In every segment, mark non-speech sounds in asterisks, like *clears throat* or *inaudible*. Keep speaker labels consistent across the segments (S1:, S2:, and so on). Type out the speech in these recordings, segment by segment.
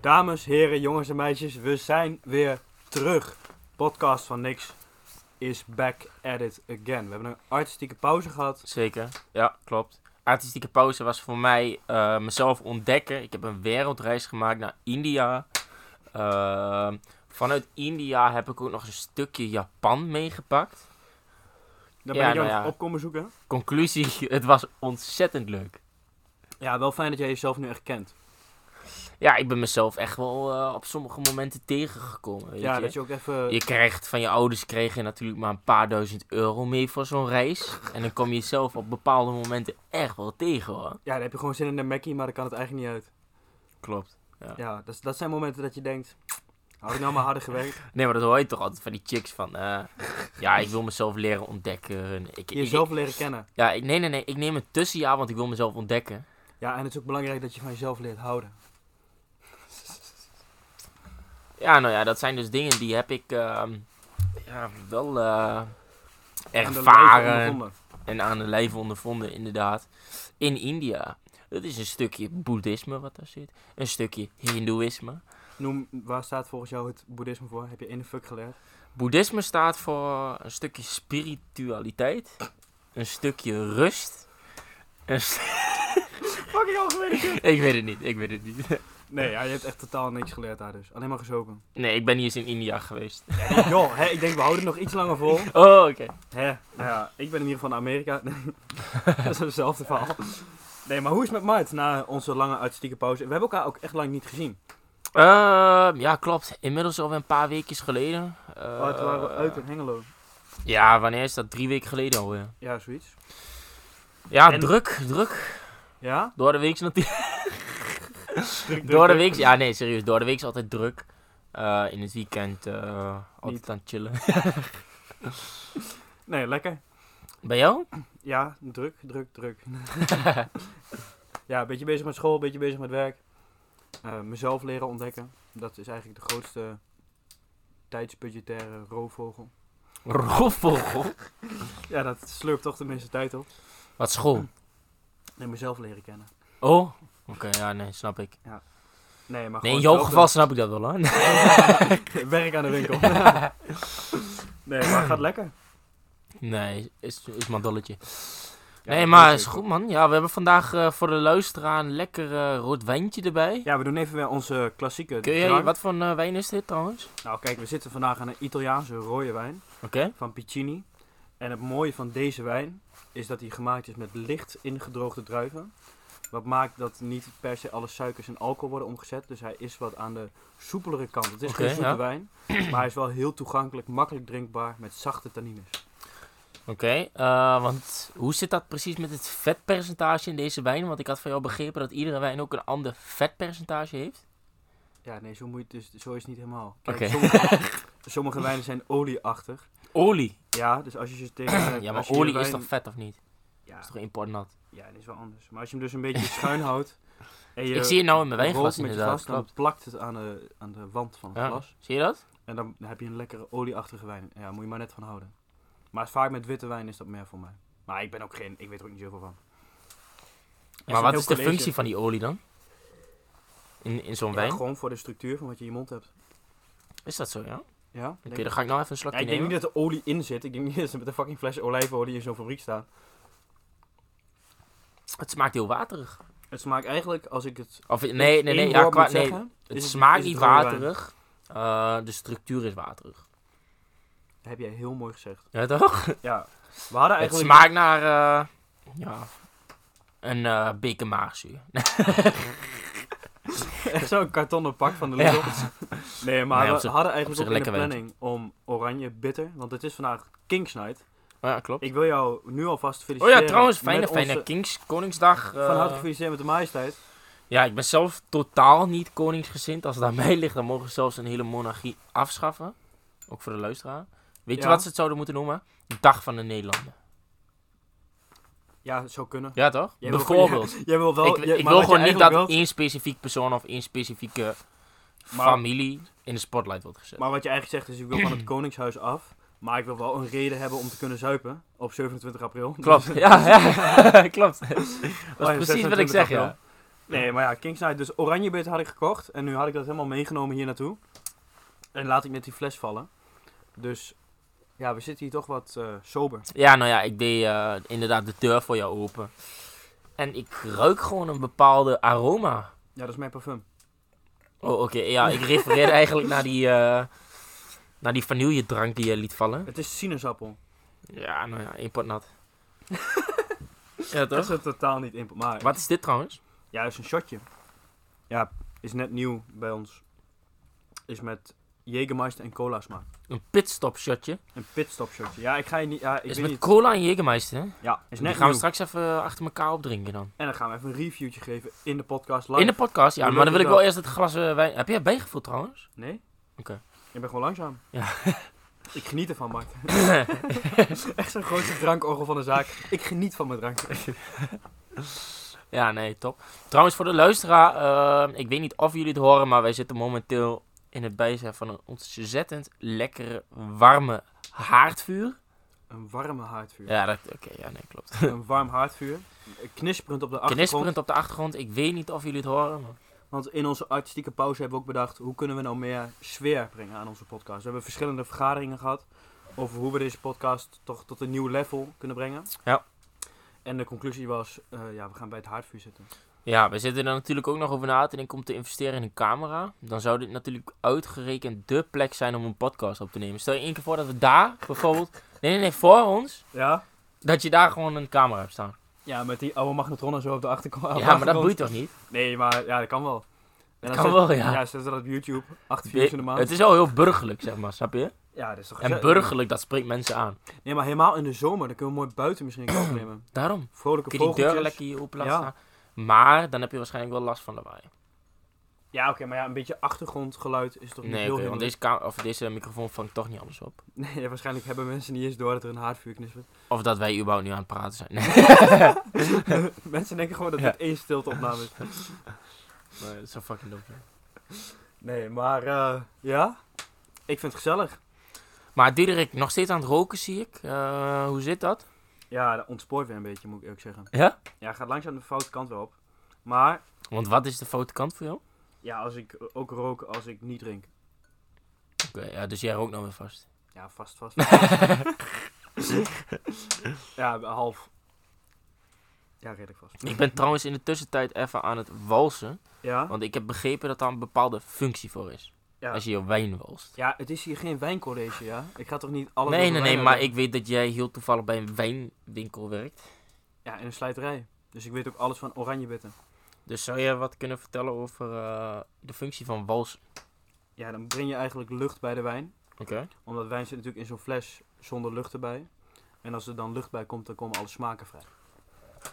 S1: Dames, heren, jongens en meisjes, we zijn weer terug. Podcast van Niks is back at it again. We hebben een artistieke pauze gehad.
S2: Zeker, ja, klopt. Artistieke pauze was voor mij eh, mezelf ontdekken. Ik heb een wereldreis gemaakt naar India. Ehm, vanuit India heb ik ook nog eens een stukje Japan meegepakt.
S1: Daar ben
S2: Ja,
S1: ik jou
S2: nou ja.
S1: op komen zoeken.
S2: Conclusie, *laughs* het was ontzettend leuk.
S1: Ja, wel fijn dat jij jezelf nu echt kent.
S2: Ja, ik ben mezelf echt wel eh, op sommige momenten tegengekomen. Weet
S1: ja,
S2: je?
S1: dat je ook even...
S2: Je krijgt van je ouders kreeg je natuurlijk maar een paar duizend euro mee voor zo'n reis. En dan kom je jezelf op bepaalde momenten echt wel tegen hoor.
S1: Ja, dan heb je gewoon zin in een Mackie, maar dan kan het eigenlijk niet uit.
S2: Klopt.
S1: Ja, dat, dat zijn momenten dat je denkt... Had ik nou maar harder *laughs* gewerkt.
S2: Nee, maar dat hoor je toch altijd van die chicks van... eh, ja, ik wil mezelf leren ontdekken. Ik, ik-
S1: Jezelf leren kennen.
S2: ja, ik, nee, nee, nee. Ik neem een tussenjaar, want ik wil mezelf ontdekken.
S1: Ja, en het is ook belangrijk dat je van jezelf leert houden.
S2: Ja, nou ja, dat zijn dus dingen die heb ik ehm, ja, wel eh,
S1: Aan de lijve
S2: ervaren.
S1: ondervonden.
S2: en aan de lijve ondervonden, inderdaad. In India. Dat is een stukje boeddhisme wat daar zit. Een stukje hindoeïsme.
S1: Noem, waar staat volgens jou het boeddhisme voor? Heb je in de fuck geleerd?
S2: Boeddhisme staat voor een stukje spiritualiteit. Een stukje rust. Een st- *laughs*
S1: Fucking algemeen
S2: ik weet het niet, ik weet het niet.
S1: Nee, ja, je hebt echt totaal niks geleerd daar dus. Alleen maar gezopen.
S2: Nee, ik ben niet eens in India geweest.
S1: *laughs*
S2: *laughs*
S1: Joh, hè, ik denk we houden het nog iets langer vol.
S2: Oh, oké.
S1: Hè, nou ja, ik ben in ieder geval naar Amerika. *laughs* Nee, dat is hetzelfde verhaal. Nee, maar hoe is het met Mart na onze lange artistieke pauze? We hebben elkaar ook echt lang niet gezien.
S2: Ehm, ja, klopt. Inmiddels alweer een paar weekjes geleden. Eh,
S1: Oh, het waren we uit in Hengelo.
S2: Ja, wanneer is dat? Drie weken geleden alweer.
S1: Ja, zoiets.
S2: Ja,
S1: En-
S2: druk, druk.
S1: Ja?
S2: Door de week natuurlijk. Door de week, ja nee, serieus. Door de week is altijd druk. Eh, in het weekend eh, altijd
S1: Niet.
S2: aan het chillen. *laughs*
S1: Nee, lekker.
S2: Bij jou?
S1: Ja, druk, druk, *laughs* druk. ja, een beetje bezig met school, een beetje bezig met werk. Eh, mezelf leren ontdekken. Dat is eigenlijk de grootste tijdsbudgettaire roofvogel.
S2: Roffel.
S1: Ja, dat slurpt toch de meeste tijd op.
S2: Wat
S1: Hm.
S2: school?
S1: Nee, mezelf leren kennen.
S2: Oh, oké, ja, nee, snap ik.
S1: Nee, maar
S2: Nee,
S1: gewoon
S2: in jouw
S1: zelf
S2: geval snap ik dat wel, hoor.
S1: *laughs* Werk aan de
S2: *laughs*
S1: winkel. nee, maar het gaat lekker.
S2: Nee, is, is mandolletje.
S1: Ja,
S2: nee,
S1: dat
S2: maar
S1: weet
S2: is
S1: ik.
S2: goed, man. Ja, we hebben vandaag eh, voor de luisteraar een lekker eh, rood wijntje erbij.
S1: Ja, we doen even weer onze klassieke
S2: Kun jij,
S1: drank.
S2: wat voor een eh, wijn is dit trouwens?
S1: Nou kijk, we zitten vandaag aan een Italiaanse rode wijn
S2: Oké.
S1: van Piccini. En het mooie van deze wijn is dat hij gemaakt is met licht ingedroogde druiven. Wat maakt dat niet per se alle suikers in alcohol worden omgezet. Dus hij is wat aan de soepelere kant. Het is
S2: Oké,
S1: geen zoete
S2: ja.
S1: wijn, maar hij is wel heel toegankelijk, makkelijk drinkbaar met zachte tannines.
S2: Oké, eh, want hoe zit dat precies met het vetpercentage in deze wijn? Want ik had van jou begrepen dat iedere wijn ook een ander vetpercentage heeft.
S1: Ja, nee, zo, moet je het dus, zo is het niet helemaal. Kijk,
S2: Oké. *laughs*
S1: sommige, sommige wijnen zijn olieachtig.
S2: Olie.
S1: Ja, dus als je ze tegen...
S2: Ja,
S1: als
S2: maar
S1: je je
S2: olie is
S1: wijn-
S2: toch vet of niet?
S1: Ja,
S2: Is toch importnat?
S1: ja, dat is wel anders. Maar als je hem dus een beetje *laughs* schuin houdt... En je
S2: Ik zie het nou in mijn
S1: rolt
S2: wijnglas
S1: met je
S2: inderdaad.
S1: glas, dan
S2: klopt.
S1: plakt het aan de, aan de wand van het
S2: Ja,
S1: glas.
S2: Zie je dat?
S1: En dan heb je een lekkere olieachtige wijn. Ja, moet je maar net van houden. Maar vaak met witte wijn is dat meer voor mij. Maar ik ben ook geen... Ik weet er ook niet zoveel van.
S2: Maar wat is de functie van die olie dan? In, in zo'n
S1: van
S2: wijn?
S1: gewoon voor de structuur van wat je in je mond hebt.
S2: Is dat zo, ja?
S1: Ja, denk
S2: Oké,
S1: ik.
S2: dan ga ik nou even een
S1: Ja,
S2: slokje
S1: ik denk
S2: nemen.
S1: niet dat er olie in zit. Ik denk niet dat ze met een fucking fles olijfolie in zo'n fabriek staan.
S2: Het smaakt heel waterig.
S1: Het smaakt eigenlijk, als ik het
S2: Of, nee, nee, nee. ja, qua, nee het smaakt niet waterig. Eh, de structuur is waterig.
S1: Heb jij heel mooi gezegd. *laughs*
S2: Ja, toch?
S1: Ja, we hadden
S2: Het
S1: eigenlijk...
S2: smaakt naar... eh, ja... Een eh beker *laughs* maagzuur.
S1: Echt zo'n kartonnen pak van de Lidl. Nee, maar
S2: Nee, op
S1: we
S2: zich-
S1: hadden
S2: op
S1: eigenlijk
S2: zich
S1: ook in de
S2: lekker wijn.
S1: planning om oranje bitter. Want het is vandaag Kings Night.
S2: ja, klopt.
S1: Ik wil jou nu alvast
S2: Oh
S1: feliciteren.
S2: ja, trouwens, fijne,
S1: met
S2: fijne
S1: onze-
S2: Kings, Koningsdag. eh,
S1: Van harte feliciteren met de majesteit.
S2: ja, ik ben zelf totaal niet koningsgezind. Als het aan *laughs* mij ligt, dan mogen ze zelfs een hele monarchie afschaffen. Ook voor de luisteraar. Weet
S1: Ja.
S2: je wat ze het zouden moeten noemen? Dag van de Nederlanden.
S1: Ja, het zou kunnen.
S2: Ja, toch?
S1: Jij wil-
S2: Bijvoorbeeld.
S1: *laughs* Jij wil wel...
S2: ik
S1: jij-
S2: ik
S1: maar
S2: wil
S1: wat je
S2: gewoon niet dat
S1: eigenlijk wilt-
S2: één specifiek persoon of één specifieke
S1: Maar-
S2: familie in de spotlight wordt gezet.
S1: Maar wat je eigenlijk zegt is, ik wil
S2: *clears throat*
S1: van het koningshuis af. Maar ik wil wel een reden hebben om te kunnen zuipen op 27 april. *laughs*
S2: *laughs*
S1: Dus,
S2: klopt, ja, *laughs* ja klopt. Dat is
S1: Oh ja,
S2: precies wat ik
S1: 26
S2: zeg,
S1: april.
S2: ja.
S1: Nee, maar ja, King's Night. Dus oranjebit had ik gekocht. En nu had ik dat helemaal meegenomen hier naartoe. En laat ik net die fles vallen. Dus ja, we zitten hier toch wat eh, sober.
S2: Ja, nou ja, ik deed eh, inderdaad de deur voor jou open. En ik ruik gewoon een bepaalde aroma.
S1: Ja, dat is mijn parfum.
S2: Oh,
S1: *laughs*
S2: oké. Ja, ik refereerde eigenlijk naar die, eh naar die vaniljedrank die je liet vallen.
S1: Het is sinaasappel.
S2: Ja, nou ja,
S1: *laughs*
S2: importnat. ja,
S1: Dat is
S2: toch?
S1: het totaal niet in. Maar
S2: Wat is dit trouwens?
S1: Ja, is een shotje. Ja, is net nieuw bij ons. Is met Jägermeister en cola smaak.
S2: Een pitstop shotje.
S1: Een pitstop shotje. Ja, ik ga je niet... Ja, ik
S2: Is
S1: weet
S2: met
S1: niet.
S2: cola en Jägermeister, hè?
S1: Ja, is
S2: Die
S1: net
S2: gaan we
S1: nieuw.
S2: straks even eh, achter elkaar opdrinken dan.
S1: En dan gaan we even een reviewtje geven in de podcast live.
S2: In de podcast, ja.
S1: Hoe
S2: Maar dan
S1: leuk
S2: wil ik
S1: is
S2: wel
S1: dat?
S2: eerst het glas eh, wijn... Heb jij bijgevoeld trouwens?
S1: Nee?
S2: Oké.
S1: Ik ben gewoon langzaam.
S2: Ja.
S1: Ik geniet ervan,
S2: *laughs*
S1: Mark. Echt zo'n grootste drankorgel van de zaak. Ik geniet van mijn drank.
S2: Ja, nee, top. Trouwens, voor de luisteraar, eh, ik weet niet of jullie het horen, maar wij zitten momenteel in het bijzijn van een ontzettend lekkere, warme haardvuur.
S1: Een warme haardvuur.
S2: Ja, dat, oké, ja, nee, klopt.
S1: Een warm haardvuur. Knisperend op de achtergrond.
S2: Knisperend op de achtergrond, ik weet niet of jullie het horen. Maar...
S1: Want in onze artistieke pauze hebben we ook bedacht... hoe kunnen we nou meer sfeer brengen aan onze podcast. We hebben verschillende vergaderingen gehad... over hoe we deze podcast toch tot een nieuw level kunnen brengen.
S2: Ja.
S1: En de conclusie was... eh, ja, we gaan bij het haardvuur zitten.
S2: Ja, we zitten er natuurlijk ook nog over na te denken om te investeren in een camera. Dan zou dit natuurlijk uitgerekend de plek zijn om een podcast op te nemen. Stel je één keer voor dat we daar bijvoorbeeld... Nee, nee, nee, voor ons,
S1: Ja?
S2: dat je daar gewoon een camera hebt staan.
S1: Ja, met die oude magnetron en zo op de achterko- op de achtergrond.
S2: Ja, maar dat boeit toch niet?
S1: Nee, maar ja, dat kan wel. En dan
S2: kan
S1: zet-
S2: wel, ja.
S1: Ja, zetten ze dat op YouTube. Acht views in de maand.
S2: Het is wel heel burgerlijk, zeg maar, snap je?
S1: Ja, dat is toch
S2: En
S1: gezellig?
S2: burgerlijk, dat spreekt mensen aan.
S1: Nee, maar helemaal in de zomer. Dan kunnen we mooi buiten misschien een keer
S2: *clears throat*
S1: opnemen.
S2: Daarom.
S1: Vrolijke
S2: Kun je die deuren
S1: vogeltjes.
S2: lekker hier open laten
S1: Ja.
S2: staan. Maar dan heb je waarschijnlijk wel last van lawaai.
S1: Ja, oké, maar ja, een beetje achtergrondgeluid is toch niet
S2: Nee,
S1: heel
S2: oké, want
S1: hinderlijk?
S2: deze, ka- of deze microfoon vangt toch niet alles op.
S1: Nee, *laughs* ja, waarschijnlijk hebben mensen niet eens door dat er een haardvuur knispert.
S2: Of dat wij überhaupt nu aan het praten zijn. *laughs* Nee,
S1: *laughs* mensen denken gewoon dat
S2: Ja.
S1: dit één stilteopname
S2: *laughs*
S1: is.
S2: maar dat is zo fucking dom. hè.
S1: Nee, maar eh, ja, ik vind het gezellig.
S2: Maar Diederik, nog steeds aan het roken zie ik. Eh, hoe zit dat?
S1: Ja, dat ontspoort weer een beetje, moet ik eerlijk zeggen.
S2: Ja?
S1: Ja, gaat langzaam de foute kant wel op. Maar,
S2: Want wat is de foute kant voor jou?
S1: ja, als ik ook rook als ik niet drink.
S2: Oké, ja, dus jij rookt nou weer vast.
S1: Ja, vast, vast.
S2: *laughs*
S1: ja, half. Ja, redelijk vast.
S2: Ik ben trouwens in de tussentijd even aan het walsen.
S1: Ja?
S2: Want ik heb begrepen dat daar een bepaalde functie voor is.
S1: Ja.
S2: Als je je wijn walst.
S1: Ja, het is hier geen wijncollege, ja? Ik ga toch niet alles
S2: nee,
S1: over
S2: nee,
S1: wijn
S2: nee, maar
S1: hebben?
S2: ik weet dat jij heel toevallig bij een wijnwinkel werkt.
S1: Ja, in een slijterij. Dus ik weet ook alles van oranjebitten.
S2: Dus zou jij wat kunnen vertellen over eh, de functie van wals?
S1: Ja, dan breng je eigenlijk lucht bij de wijn.
S2: Oké.
S1: Omdat wijn zit natuurlijk in zo'n fles zonder lucht erbij. En als er dan lucht bij komt, dan komen alle smaken vrij.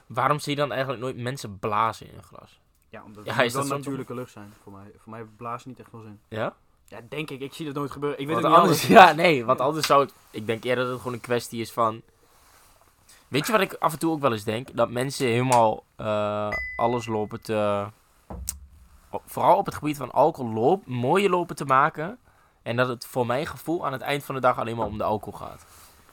S2: Waarom zie je dan eigenlijk nooit mensen blazen in een glas?
S1: Ja, omdat
S2: Ja,
S1: het
S2: is
S1: wel
S2: dat zo-
S1: natuurlijke lucht zijn. Voor mij, voor mij blaast niet echt veel zin.
S2: Ja?
S1: Ja, denk ik. Ik zie dat nooit gebeuren. Ik weet
S2: Want
S1: het niet
S2: anders,
S1: anders. *laughs*
S2: *laughs* ja, nee, want anders zou het... Ik denk eerder dat het gewoon een kwestie is van... Weet je wat ik af en toe ook wel eens denk? Dat mensen helemaal eh, alles lopen te... op- Vooral op het gebied van alcohol loop, mooie lopen te maken. En dat het voor mijn gevoel aan het eind van de dag alleen maar om de alcohol gaat.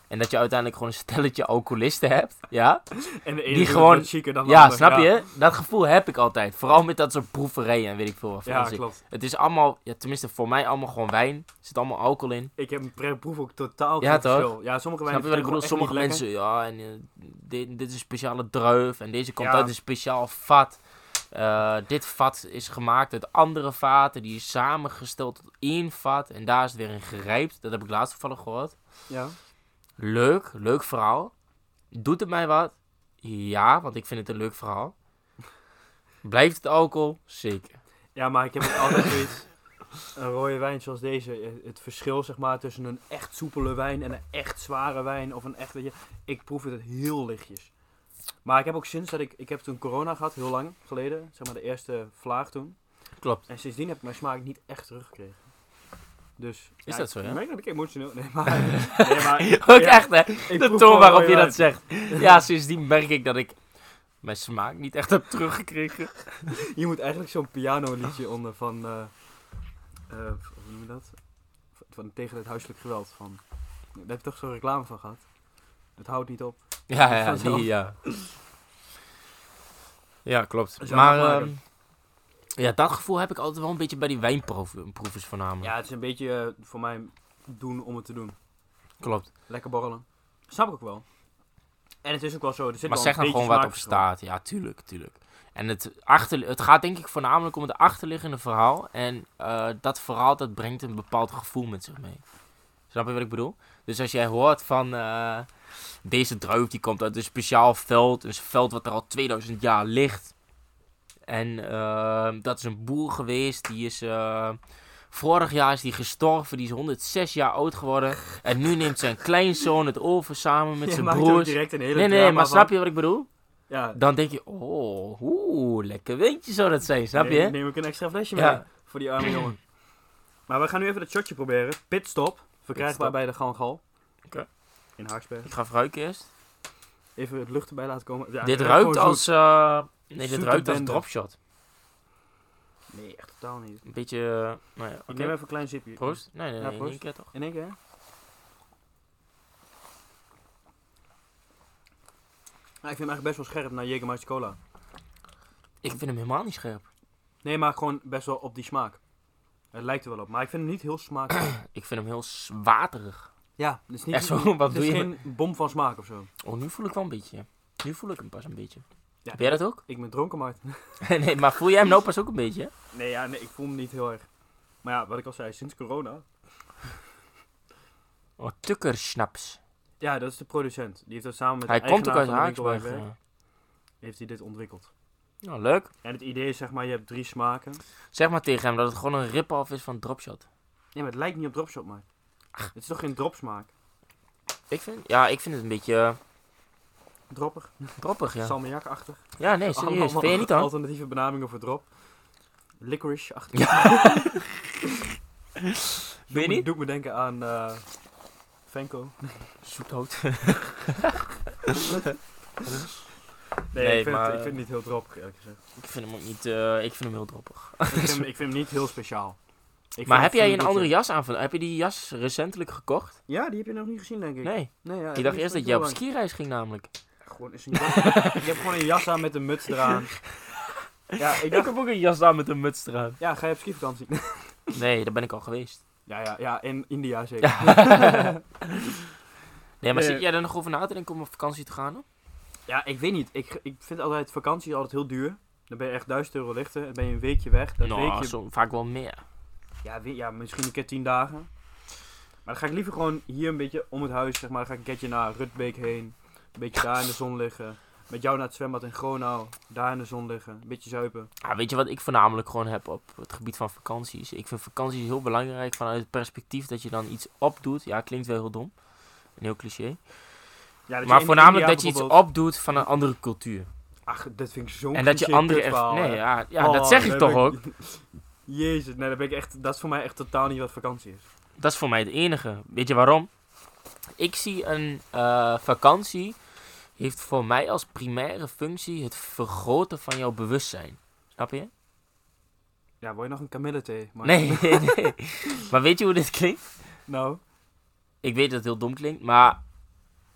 S2: En dat je uiteindelijk gewoon een stelletje alcoholisten hebt. Ja?
S1: En de
S2: Die
S1: ene
S2: gewoon-
S1: gewoon... chiquer dan de
S2: Ja,
S1: ander.
S2: snap je? Dat gevoel heb ik altijd. Vooral met dat soort proeverijen en weet ik veel wat. voor
S1: Ja,
S2: onzin.
S1: klopt.
S2: het is allemaal, ja, tenminste voor mij allemaal gewoon wijn. Er zit allemaal alcohol in.
S1: Ik heb een proef ook totaal
S2: Ja,
S1: geen
S2: toch?
S1: verschil. Ja, sommige
S2: Snap
S1: wijnen
S2: je wat ik
S1: vinden gewoon
S2: bedoel?
S1: echt
S2: Sommige
S1: niet lekker.
S2: mensen, ja, en, eh, dit, dit is een speciale druif. En deze komt
S1: Ja.
S2: uit een speciaal vat. Eh, dit vat is gemaakt uit andere vaten. Die is samengesteld tot één vat. En daar is het weer in gerijpt. Dat heb ik laatst toevallig gehoord.
S1: Ja.
S2: Leuk, leuk verhaal. Doet het mij wat? Ja, want ik vind het een leuk verhaal. Blijft het alcohol? Zeker.
S1: ja, maar ik heb *laughs* ook altijd zoiets... Een rode wijn zoals deze, eh, het verschil zeg maar tussen een echt soepele wijn en een echt zware wijn of een echt, weet je, ik proef het heel lichtjes. Maar ik heb ook sinds dat ik, ik heb toen corona gehad, heel lang geleden, zeg maar de eerste vlaag toen.
S2: Klopt.
S1: En sindsdien heb ik mijn smaak niet echt teruggekregen. Dus,
S2: Is
S1: ja,
S2: dat zo,
S1: ik
S2: ja?
S1: merk dat ik emotioneel, nee
S2: *laughs*
S1: maar, nee, maar
S2: *laughs* Ook
S1: ja,
S2: echt, hè?
S1: ik
S2: De
S1: proef
S2: toon
S1: gewoon oh
S2: waarop
S1: rode
S2: je
S1: wijn.
S2: dat zegt. Ja, sindsdien merk ik dat ik mijn smaak niet echt heb teruggekregen.
S1: Je moet eigenlijk zo'n
S2: Oh.
S1: pianoliedje onder van. eh, eh, hoe noem je dat? Van tegen het huiselijk geweld. Van. Daar heb je toch zo'n reclame van gehad? Het houdt niet op.
S2: Ja, ja,
S1: Vanzelf.
S2: die, ja. Ja, klopt.
S1: Zou
S2: Maar
S1: nog
S2: ehm,
S1: maken.
S2: Ja, dat gevoel heb ik altijd wel een beetje bij die wijnproevers voornamelijk.
S1: Ja, het is een beetje eh, voor mij doen om het te doen.
S2: Klopt.
S1: Lekker borrelen. Snap ik ook wel. En het is ook wel zo. Er zit
S2: maar
S1: wel
S2: zeg
S1: een
S2: dan
S1: beetje
S2: gewoon wat op
S1: smaakverschil.
S2: staat. Ja, tuurlijk, tuurlijk. En het, achter, het gaat denk ik voornamelijk om het achterliggende verhaal. En eh, dat verhaal dat brengt een bepaald gevoel met zich mee. Snap je wat ik bedoel? Dus als jij hoort van eh, deze druif die komt uit een speciaal veld. Een veld wat er al 2000 jaar ligt. En eh, dat is een boer geweest. Die is eh, vorig jaar is die gestorven. Die is 106 jaar oud geworden. En nu neemt zijn kleinzoon het over samen met
S1: *laughs* Je
S2: zijn
S1: maakt er ook
S2: broers.
S1: direct een hele
S2: Nee, nee,
S1: drama
S2: maar
S1: van.
S2: snap je wat ik bedoel?
S1: Ja,
S2: Dan denk je, oh, oeh, lekker windje zou dat zijn, snap
S1: Nee,
S2: je?
S1: Neem ik een extra flesje
S2: Ja.
S1: mee voor die arme jongen. Maar we gaan nu even dat shotje proberen. Pitstop. Verkrijgbaar
S2: Pitstop.
S1: bij de Gangal.
S2: Oké.
S1: In Haaksberg.
S2: Ik ga even ruiken eerst.
S1: Even het lucht erbij laten komen. Ja,
S2: dit
S1: het
S2: ruikt
S1: gewoon
S2: als, eh, nee, dit
S1: Zoete
S2: ruikt als
S1: bende.
S2: dropshot.
S1: zoet. Nee, echt totaal niet.
S2: Een beetje, eh, nou ja,
S1: Ik
S2: oké.
S1: neem even een klein zipje.
S2: Proost. Nee, nee,
S1: Ja,
S2: nee, in
S1: proost.
S2: één keer toch.
S1: In één keer. Ja, ik vind hem eigenlijk best wel scherp naar Jägermeister Cola.
S2: Ik vind hem helemaal niet scherp.
S1: Nee, maar gewoon best wel op die smaak. Het lijkt er wel op, maar ik vind hem niet heel smaak.
S2: *coughs* Ik vind hem heel s- waterig.
S1: ja, het is niet
S2: Echt zo, wat
S1: het is
S2: doe je?
S1: geen bom van smaak of zo.
S2: Oh, nu voel ik wel een beetje. Nu voel ik hem pas een beetje.
S1: Ja.
S2: Heb jij dat ook? *laughs*
S1: Ik ben dronken, Maarten.
S2: nee, maar voel jij hem nou pas ook een beetje?
S1: Nee, ja, nee, ik voel hem niet heel erg. Maar ja, wat ik al zei, sinds corona.
S2: Oh, tukkersnaps.
S1: Ja, dat is de producent. Die heeft dat samen met
S2: Hij
S1: de
S2: komt ook
S1: eigenaar
S2: uit
S1: van de winkel waar ik
S2: Haaksberg.
S1: werk,
S2: eh.
S1: Heeft hij dit ontwikkeld.
S2: Nou, leuk.
S1: En het idee is zeg maar, je hebt drie smaken.
S2: Zeg maar tegen hem dat het gewoon een rip-off is van dropshot.
S1: Nee, maar het lijkt niet op dropshot, maar. Het is toch geen dropsmaak?
S2: Ik vind, ja, ik vind het een beetje
S1: Droppig,
S2: eh, droppig, ja.
S1: salmiakachtig.
S2: Ja, nee, serieus. Vind je niet dan?
S1: Alternatieve benamingen voor drop. Licorice-achtig. *laughs*
S2: Vind je
S1: Doet me-
S2: niet?
S1: Doet me denken aan eh Venko. *laughs*
S2: Zoethout.
S1: Nee,
S2: Nee,
S1: ik, vind
S2: maar-
S1: het, ik vind het niet heel droppig, eerlijk
S2: *laughs*
S1: gezegd.
S2: ik vind hem ook niet, eh, ik vind hem heel droppig.
S1: ik, vind, hem- ik vind hem niet heel speciaal. Ik
S2: maar
S1: vind-
S2: heb jij
S1: vind
S2: een
S1: het
S2: andere
S1: niet-
S2: jas aan? van- Heb je die jas recentelijk gekocht?
S1: Ja, die heb je nog niet gezien, denk ik.
S2: Nee.
S1: Nee, ja,
S2: Ik dacht eerst dat jij
S1: je
S2: op skireis ging namelijk.
S1: Gewoon is een
S2: *laughs*
S1: jas. je hebt gewoon een jas aan met een muts eraan. Ja, ik dacht...
S2: heb ook een jas aan met een muts eraan.
S1: Ja, ga je op skivakantie?
S2: Nee, daar ben ik al geweest.
S1: *laughs* ja, ja, ja, in India zeker.
S2: Nee,
S1: Nee.
S2: maar zit jij er nog over na te denken om op vakantie te gaan? hoor?
S1: Ja, ik weet niet. Ik, ik vind altijd, vakantie is altijd heel duur. Dan ben je echt 1000 euro lichter. Dan ben je een weekje weg. Dat
S2: Nou,
S1: weekje...
S2: zo- vaak wel meer.
S1: Ja, we- ja, misschien een keer 10 dagen. Maar dan ga ik liever gewoon hier een beetje om het huis, zeg maar. Dan ga ik een keertje naar Rutbeek heen. Een beetje daar in de zon liggen. Met jou naar het zwembad in Gronau. Daar in de zon liggen. Een beetje zuipen.
S2: Ah, weet je wat ik voornamelijk gewoon heb op het gebied van vakanties? Ik vind vakanties heel belangrijk vanuit het perspectief dat je dan iets opdoet. Ja, klinkt wel heel dom. Een heel cliché.
S1: Ja, dat je
S2: Maar
S1: in
S2: voornamelijk
S1: India
S2: dat je iets
S1: bijvoorbeeld-
S2: opdoet van een andere cultuur.
S1: Ach, dat vind ik zo'n
S2: en dat je
S1: cliché
S2: andere...
S1: kutverhaal,
S2: nee,
S1: hè.
S2: ja, ja
S1: Oh,
S2: dat zeg ik
S1: daar
S2: toch
S1: ben
S2: ook.
S1: Jezus, nee, dat, ben ik echt, dat is voor mij echt totaal niet wat vakantie is.
S2: Dat is voor mij het enige. Weet je waarom? Ik zie een eh, vakantie... heeft voor mij als primaire functie het vergroten van jouw bewustzijn. Snap je?
S1: Ja, wil je nog een kamillethee? Maar...
S2: Nee, *laughs* nee. Maar weet je hoe dit klinkt?
S1: Nou,
S2: Ik weet dat het heel dom klinkt, maar...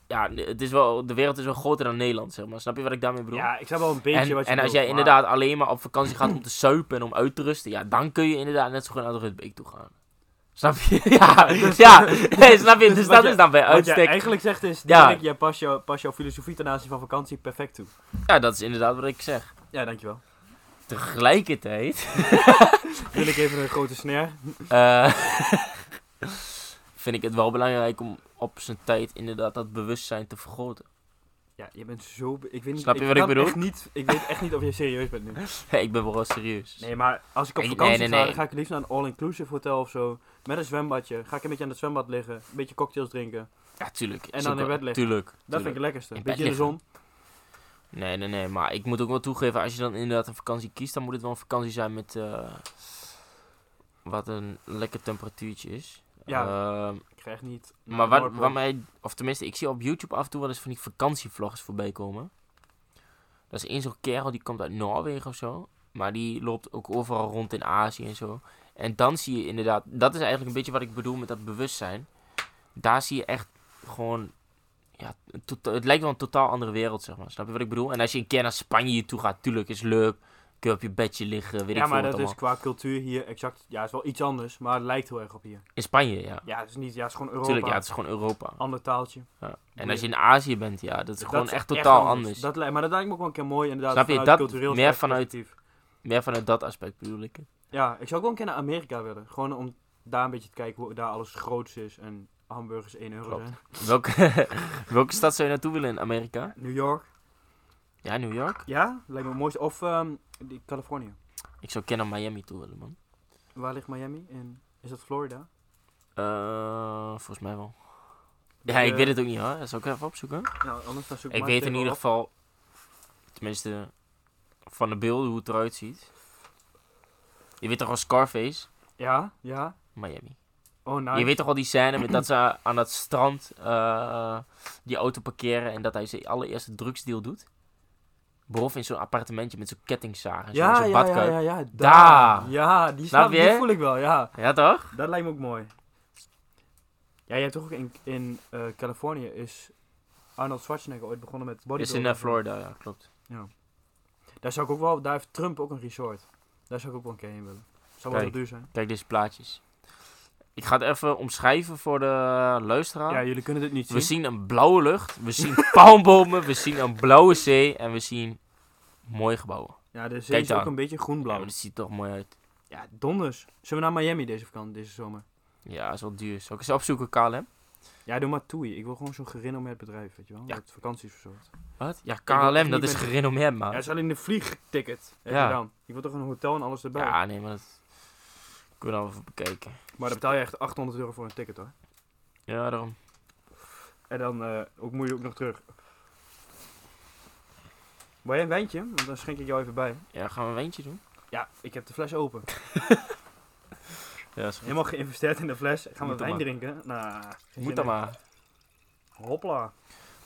S2: Ja, het is wel, de wereld is wel groter dan Nederland, zeg maar. Snap je wat ik daarmee bedoel?
S1: ja, ik snap wel een beetje
S2: en
S1: wat je
S2: en als
S1: bedoelt,
S2: jij
S1: maar-
S2: inderdaad alleen maar op vakantie gaat om te suipen en om uit te rusten, ja, dan kun je inderdaad net zo goed naar de Rutbeek toe gaan. Snap je? *laughs*
S1: *laughs*
S2: Ja,
S1: dus-
S2: ja. Nee, snap je? Dus,
S1: dus wat
S2: dat
S1: jij-
S2: is dan bij
S1: Wat jij
S2: uitstek.
S1: eigenlijk zegt is,
S2: Ja.
S1: Dirk, jij past jouw pas jouw filosofie ten aanzien van vakantie perfect toe.
S2: Ja, Nou, dat is inderdaad wat ik zeg.
S1: Ja, dankjewel.
S2: Tegelijkertijd
S1: Wil ik even een grote snare?
S2: eh, *laughs* vind ik het wel belangrijk om op zijn tijd inderdaad dat bewustzijn te vergroten. *laughs*
S1: Ja, je bent zo... be- Ik weet niet,
S2: Snap je wat ik
S1: kan
S2: bedoel?
S1: Echt niet, ik weet echt niet of jij serieus bent nu.
S2: *laughs* Hey, ik ben wel serieus.
S1: Nee, maar als ik op
S2: Nee,
S1: vakantie
S2: nee,
S1: ga,
S2: nee.
S1: dan ga ik liefst naar een all-inclusive hotel of zo. Met een zwembadje. Ga ik een beetje aan het zwembad liggen. Een beetje cocktails drinken.
S2: Ja, tuurlijk.
S1: En
S2: Is
S1: dan
S2: ook
S1: in
S2: wel-
S1: bed liggen.
S2: Tuurlijk.
S1: Dat
S2: tuurlijk.
S1: vind ik het lekkerste. Een
S2: In bed
S1: beetje in de zon.
S2: Nee, nee, nee. Maar ik moet ook wel toegeven, als je dan inderdaad een vakantie kiest, dan moet het wel een vakantie zijn met eh, wat een lekker temperatuurtje is.
S1: Ja.
S2: Ehm,
S1: Ik krijg niet...
S2: maar wat,
S1: Noordpool.
S2: wat mij, of tenminste, ik zie op YouTube af en toe wel eens van die vakantievlogs voorbij komen. Dat is één zo'n kerel, die komt uit Noorwegen of zo. Maar die loopt ook overal rond in Azië en zo. En dan zie je inderdaad, dat is eigenlijk een beetje wat ik bedoel met dat bewustzijn. Daar zie je echt gewoon, ja, een tota- het lijkt wel een totaal andere wereld, zeg maar. Snap je wat ik bedoel? En als je een keer naar Spanje toe gaat, tuurlijk, is leuk. kun je op je bedje liggen, weet
S1: ja,
S2: ik veel
S1: maar
S2: wat
S1: dat
S2: allemaal.
S1: is qua cultuur hier exact. Ja, is wel iets anders, maar het lijkt heel erg op hier.
S2: In Spanje, ja.
S1: Ja, het is niet. Ja, het is gewoon Europa.
S2: Tuurlijk, ja, het is gewoon Europa.
S1: Ander taaltje.
S2: Ja. En
S1: Boeien.
S2: als je in Azië bent, ja, dat is gewoon
S1: Dat
S2: echt totaal anders.
S1: Dat, li- maar dat lijkt me ook wel een keer mooi inderdaad.
S2: Snap je?
S1: vanuit
S2: Dat
S1: cultureel
S2: meer vanuit-
S1: perspectief.
S2: Meer vanuit dat aspect bedoel ik. het.
S1: Ja, ik zou ook wel een keer naar Amerika willen. Gewoon om daar een beetje te kijken hoe daar alles groots is en hamburgers 1 euro
S2: Klopt.
S1: zijn.
S2: Welke, *laughs* welke stad zou je naartoe willen in Amerika?
S1: New York.
S2: Ja, New York.
S1: Ja, lijkt me het mooiste. Of ehm, die Californië.
S2: Ik zou kennen Miami toe willen, man.
S1: Waar ligt Miami? In, is dat Florida?
S2: Eh, volgens mij wel. Ja,
S1: Eh,
S2: ik weet het ook niet hoor. Dat zou ik even opzoeken.
S1: Nou, anders dan zoek
S2: Ik
S1: maar
S2: weet in
S1: even
S2: ieder
S1: op.
S2: geval, tenminste, van de beelden hoe het eruit ziet. Je weet toch al Scarface?
S1: Ja, ja.
S2: Miami.
S1: Oh, nice.
S2: Je weet toch al die scène met dat ze aan het strand eh, die auto parkeren en dat hij zijn allereerste drugsdeal doet? Brof in zo'n appartementje met zo'n kettingzaag en zo,
S1: ja,
S2: zo'n
S1: ja,
S2: badkuip.
S1: ja, ja, ja.
S2: Daar.
S1: Ja, die,
S2: Snap
S1: snap, die
S2: je?
S1: voel ik wel, ja.
S2: Ja, toch?
S1: Dat lijkt me ook mooi. Ja, je hebt toch ook in, in eh, Californië is Arnold Schwarzenegger ooit begonnen met
S2: Is
S1: bodybuilding.
S2: in eh, Florida, ja, klopt.
S1: Daar zou ik ook wel, daar heeft Trump ook een resort. Daar zou ik ook wel een keer heen willen. Zou wel
S2: Kijk.
S1: heel duur zijn.
S2: Kijk deze plaatjes. Ik ga het even omschrijven voor de luisteraar.
S1: Ja, jullie kunnen dit niet zien.
S2: we zien een blauwe lucht, we zien *laughs* palmbomen, we zien een blauwe zee en we zien mooie gebouwen.
S1: Ja, de zee
S2: Kijk
S1: is ook
S2: daar.
S1: een beetje
S2: Ja,
S1: groenblauw.
S2: maar dat ziet er toch mooi uit.
S1: Ja, donders. Zullen we naar Miami deze vakantie, deze zomer?
S2: Ja, is wel duur. Zal ik eens opzoeken, KLM?
S1: Ja, doe maar toei. Ik wil gewoon zo'n gerenommeerd bedrijf, weet je wel?
S2: Ja.
S1: Dat vakantieverzorgt.
S2: Wat? Ja,
S1: wil echt
S2: KLM,
S1: niet
S2: dat is
S1: met-
S2: gerenommeerd, man.
S1: Ja, het is alleen een vliegticket. Heb
S2: Ja.
S1: je dan. Ik wil toch een hotel en alles erbij.
S2: Ja, nee, maar dat kunnen we wel even bekijken.
S1: Maar dan betaal je echt 800 euro voor een ticket hoor.
S2: Ja, daarom.
S1: En dan eh, ook, moet je ook nog terug. Wil jij een wijntje? Want dan schenk ik jou even bij.
S2: Ja, gaan we een wijntje doen?
S1: Ja, ik heb de fles open.
S2: Ja, is
S1: Helemaal geïnvesteerd in de fles. Gaan we
S2: Moet dan
S1: wijn
S2: maar.
S1: drinken? Nou, geen zin
S2: Moet dan
S1: in.
S2: maar.
S1: Hopla.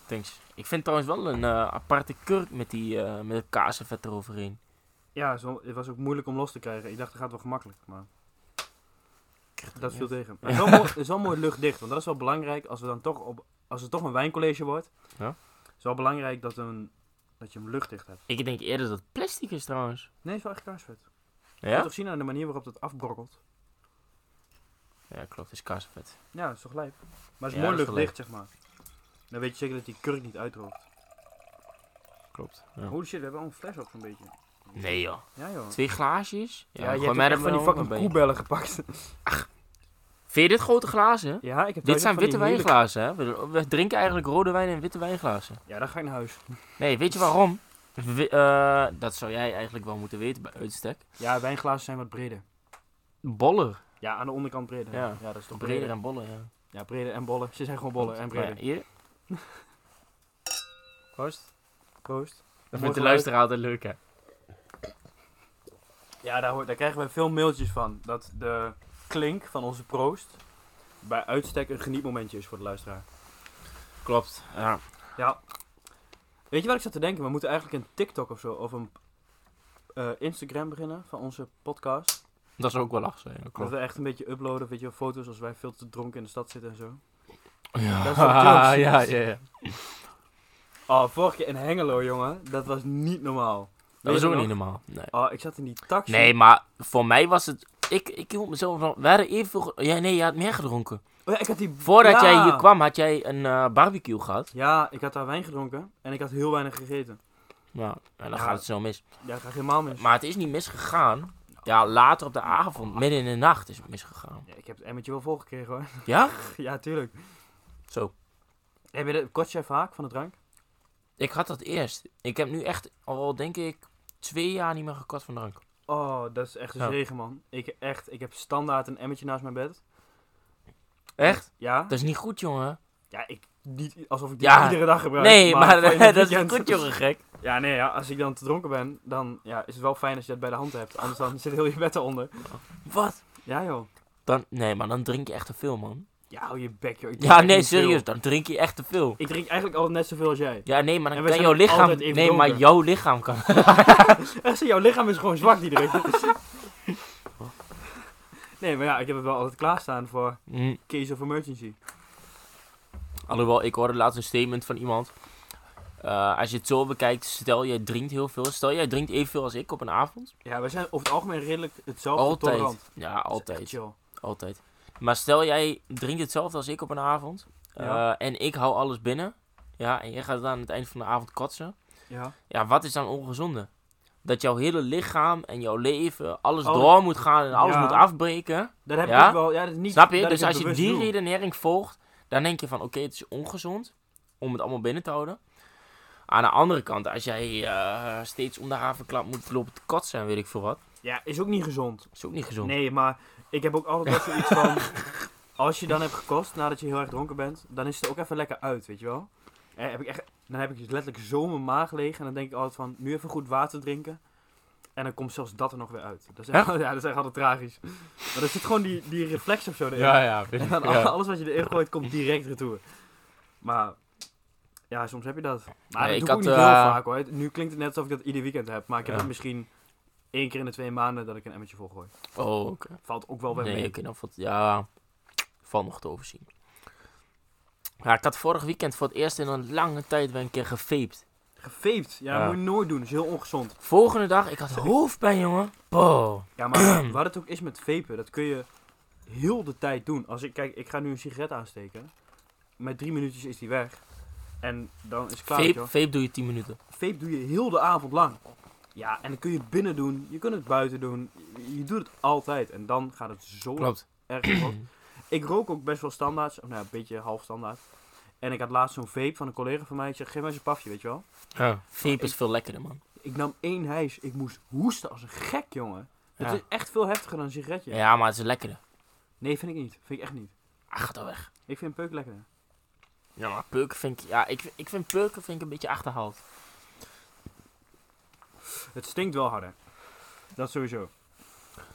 S2: Thanks. Ik vind trouwens wel een eh, aparte kurk met die eh met het kaasvet eroverheen.
S1: Ja, zo, het was ook moeilijk om los te krijgen. Ik dacht, dat gaat wel gemakkelijk. Maar dat viel
S2: *laughs*
S1: tegen. Maar Het is wel mooi, het is wel mooi luchtdicht. Want dat is wel belangrijk als, we dan toch op, als het toch een wijncollege wordt.
S2: Ja.
S1: Het is wel belangrijk dat, een, dat je hem luchtdicht hebt.
S2: Ik denk eerder dat het plastic is trouwens.
S1: Nee, het is wel echt kaarsvet. Je
S2: Ja?
S1: moet toch zien aan de manier waarop dat afbrokkelt.
S2: Ja, klopt. Het is kaasvet.
S1: Ja, dat is toch lijp. Maar het is
S2: Ja,
S1: mooi
S2: dat is wel
S1: luchtdicht, zeg maar. Dan weet je zeker dat die kurk niet uitdroogt.
S2: Klopt. Ja.
S1: Holy shit, we hebben al een fles op zo'n beetje.
S2: Nee joh.
S1: Ja joh.
S2: Twee glaasjes?
S1: Oh. Ja, je
S2: gooi
S1: hebt
S2: mij
S1: ook
S2: er
S1: echt van die
S2: maar
S1: fucking
S2: bij.
S1: koebellen gepakt.
S2: Vind je dit grote glazen?
S1: *laughs* ja, ik heb
S2: Dit
S1: thuis
S2: zijn
S1: van die
S2: witte
S1: heerlijke-
S2: wijnglazen, hè? We, we drinken eigenlijk rode wijn en witte wijnglazen.
S1: Ja, dan ga ik naar huis.
S2: Nee, weet je waarom? We- eh, dat zou jij eigenlijk wel moeten weten bij uitstek.
S1: Ja, wijnglazen zijn wat breder.
S2: Boller.
S1: Ja, aan de onderkant breder.
S2: Ja.
S1: dat is toch
S2: Breder
S1: breder.
S2: en bollen, ja.
S1: Ja, breder en bollen. Ze zijn gewoon bollen en breder.
S2: Nou ja, hier. Proost.
S1: Proost.
S2: Dat
S1: Mooi
S2: vindt de
S1: geluid.
S2: luisteraar altijd leuk, hè?
S1: Ja, daar, hoor- daar krijgen we veel mailtjes van. Dat de klink van onze proost bij uitstek een genietmomentje is voor de luisteraar.
S2: Klopt. Ja.
S1: Ja. Weet je wat ik zat te denken? We moeten eigenlijk een TikTok of zo of een eh, Instagram beginnen van onze podcast.
S2: Dat zou ook wel lach zijn.
S1: Dat
S2: klopt.
S1: we echt een beetje uploaden, weet je, wel, foto's als wij veel te dronken in de stad zitten en zo.
S2: Ja.
S1: Dat is
S2: *laughs*
S1: wel chill.
S2: Ah, ja, ja, ja.
S1: Oh, vorige keer in Hengelo, jongen. Dat was niet normaal.
S2: Dat
S1: Weet
S2: is
S1: je
S2: ook
S1: nog?
S2: niet normaal. Nee.
S1: Oh, ik zat in die taxi.
S2: nee, maar voor mij was het... Ik, ik hield mezelf nog... We hadden even... ge- Ja, nee, je had meer gedronken.
S1: Oh ja, ik had die...
S2: Voordat
S1: Ja.
S2: jij hier kwam, had jij een eh, barbecue gehad.
S1: Ja, ik had daar wijn gedronken en ik had heel weinig gegeten.
S2: Ja, en dan
S1: Ja.
S2: gaat het zo mis.
S1: Ja, dat gaat helemaal mis.
S2: Maar het is niet misgegaan. Ja, later op de avond, midden in de nacht, is het misgegaan.
S1: Ja, ik heb het emmertje wel volgekregen hoor. *laughs*
S2: Ja?
S1: ja, tuurlijk.
S2: Zo.
S1: Heb je de kortje vaak van de drank?
S2: Ik had dat eerst. Ik heb nu echt al, denk ik, twee jaar niet meer gekort van drank.
S1: Oh, dat is echt een
S2: Ja.
S1: zegen, man. Ik, echt, ik heb standaard een emmertje naast mijn bed.
S2: Echt?
S1: Ja?
S2: Dat is niet goed, jongen.
S1: Ja, ik, niet alsof ik die
S2: Ja.
S1: iedere dag gebruik.
S2: Nee,
S1: *laughs*
S2: maar, *laughs*
S1: van in het
S2: dat is niet
S1: weekend-
S2: goed, jongen, gek.
S1: Ja, nee, ja, als ik dan te dronken ben, dan ja, is het wel fijn als je dat bij de hand hebt. Anders dan *laughs* zit heel je bed eronder.
S2: Wat?
S1: Ja, joh.
S2: Dan, nee, maar dan drink je echt te veel, man.
S1: Ja, hou je bek, joh. Ik drink
S2: Ja,
S1: echt
S2: nee,
S1: niet veel.
S2: serieus, dan drink je echt te veel.
S1: Ik drink eigenlijk altijd net zoveel als jij.
S2: Ja, nee, maar
S1: En
S2: dan
S1: we
S2: kan
S1: zijn
S2: jouw
S1: ook
S2: lichaam...
S1: altijd even
S2: Nee, maar
S1: dronken.
S2: jouw lichaam kan...
S1: Echt, *laughs* zo, jouw lichaam is gewoon zwak, die druk. *laughs* nee, maar ja, ik heb het wel altijd klaarstaan voor
S2: Hm.
S1: case of emergency.
S2: Alhoewel, ik hoorde laatst een statement van iemand. Eh, eh, als je het zo bekijkt, stel jij drinkt heel veel. Stel jij drinkt evenveel als ik op een avond.
S1: Ja, we zijn over het algemeen redelijk hetzelfde tolerant.
S2: Altijd. Ja,
S1: Dat is echt
S2: altijd.
S1: chill.
S2: Altijd. Maar stel jij drinkt hetzelfde als ik op een avond.
S1: Ja.
S2: eh, en ik hou alles binnen. Ja, en jij gaat dan aan het eind van de avond kotsen.
S1: Ja.
S2: Ja, wat is dan ongezonde? Dat jouw hele lichaam en jouw leven, alles
S1: Alles-
S2: door moet gaan en alles
S1: Oh, Ja.
S2: moet afbreken.
S1: Dat heb
S2: Ja?
S1: ik wel. Ja, dat is niet,
S2: Snap je?
S1: dat ik
S2: Dus
S1: het
S2: als je
S1: bewust
S2: die
S1: doe.
S2: redenering volgt, dan denk je van oké, het is ongezond om het allemaal binnen te houden. Aan de andere kant, als jij eh, steeds om de havenklap moet lopen te kotsen en weet ik veel wat,
S1: Ja, is ook niet gezond.
S2: is ook niet gezond.
S1: Nee, maar ik heb ook altijd wel zoiets
S2: *laughs*
S1: van. Als je dan hebt gekost nadat je heel erg dronken bent, dan is het er ook even lekker uit, weet je wel. En heb ik echt, dan heb ik dus letterlijk zo mijn maag leeg en dan denk ik altijd van, nu even goed water drinken. En dan komt zelfs dat er nog weer uit. Dat is echt, *laughs* ja, dat is echt altijd tragisch. Maar er zit gewoon die, die reflex of zo erin.
S2: ja.
S1: *laughs* En dan alles wat je erin gooit, komt direct retour. Maar ja, soms heb je dat. Maar dat doe
S2: Nee, ik
S1: ik
S2: had,
S1: ook niet heel
S2: eh,
S1: vaak hoor. Nu klinkt het net alsof ik dat ieder weekend heb. Maar ik heb
S2: Ja.
S1: het misschien één keer in de twee maanden dat ik een emmertje volgooi.
S2: Oh, oké.
S1: Valt ook wel weer
S2: Nee,
S1: mee.
S2: oké, dan valt, ja, valt nog te overzien. Ja, ik had vorig weekend voor het eerst in een lange tijd weer een keer gefeept.
S1: Gefeept. Ja,
S2: Ja.
S1: dat moet je nooit doen. Dat is heel ongezond.
S2: Volgende dag,
S1: *laughs*
S2: ik had hoofdpijn, jongen. Boah.
S1: Ja,
S2: *clears throat*
S1: maar waar het ook is met vapen, dat kun je heel de tijd doen. Als ik, kijk, ik ga nu een sigaret aansteken. Met drie minuutjes is die weg. En dan is het klaar. weet je
S2: Vape,
S1: wel.
S2: vape doe je 10 minuten.
S1: Vape doe je heel de avond lang. Ja, en dan kun je het binnen doen, je kunt het buiten doen. Je, je doet het altijd en dan gaat het zo
S2: Klopt.
S1: erg goed. Ik rook ook best wel standaard, of nou, ja, een beetje half standaard. En ik had laatst zo'n vape van een collega van mij. Ik zeg, geef mij eens een pafje, weet je wel.
S2: Ja. Vape is
S1: Ik-
S2: veel lekkerder, man.
S1: Ik nam één hijs. Ik moest hoesten als een gek, jongen. Dat
S2: Ja.
S1: is echt veel heftiger dan een sigaretje.
S2: Ja, maar het is lekkerder.
S1: Nee, vind ik niet. Vind ik echt niet.
S2: Ach, gaat al weg.
S1: Ik vind peuk lekkerder.
S2: Ja, maar peuken vind ik... Ja, ik, ik vind peuken vind ik een beetje achterhaald.
S1: Het stinkt wel harder. Dat sowieso.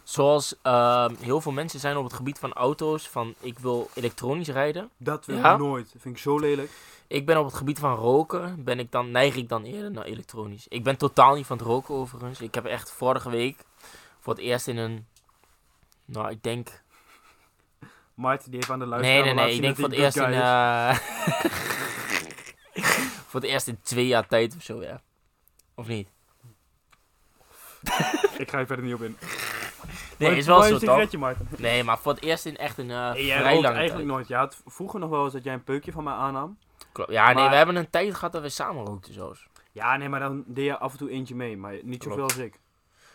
S2: Zoals ehm, heel veel mensen zijn op het gebied van auto's, van ik wil elektronisch rijden.
S1: Dat wil
S2: Ja?
S1: ik nooit. Vind ik zo lelijk.
S2: Ik ben op het gebied van roken, ben ik dan, neig ik dan eerder naar elektronisch. Ik ben totaal niet van het roken overigens. Ik heb echt vorige week voor het eerst in een... Nou, ik denk...
S1: Maarten, die heeft aan de
S2: nee,
S1: luisteraar
S2: nee,
S1: laten
S2: nee. Ik
S1: zien
S2: denk
S1: dat
S2: voor het
S1: hij een
S2: eerst
S1: good
S2: in...
S1: guy is.
S2: eh, *laughs* voor het eerst in twee jaar tijd of zo, ja. Of niet?
S1: Ik ga je verder niet op in.
S2: Nee,
S1: Maar-
S2: is wel
S1: maar
S2: zo,
S1: een
S2: toch?
S1: sigaretje, Maarten.
S2: Nee, maar voor het eerst in echt een eh
S1: Nee, jij
S2: vrij
S1: rookt
S2: lange
S1: eigenlijk
S2: tijd.
S1: nooit. Ja, het vroeger nog wel eens dat jij een peukje van mij aannam.
S2: Klopt. Ja, nee,
S1: Maar-
S2: we hebben een tijd gehad dat we samen rookten zo's.
S1: Ja, nee, maar dan deed je af en toe eentje mee. Maar niet zoveel
S2: Klopt.
S1: als ik.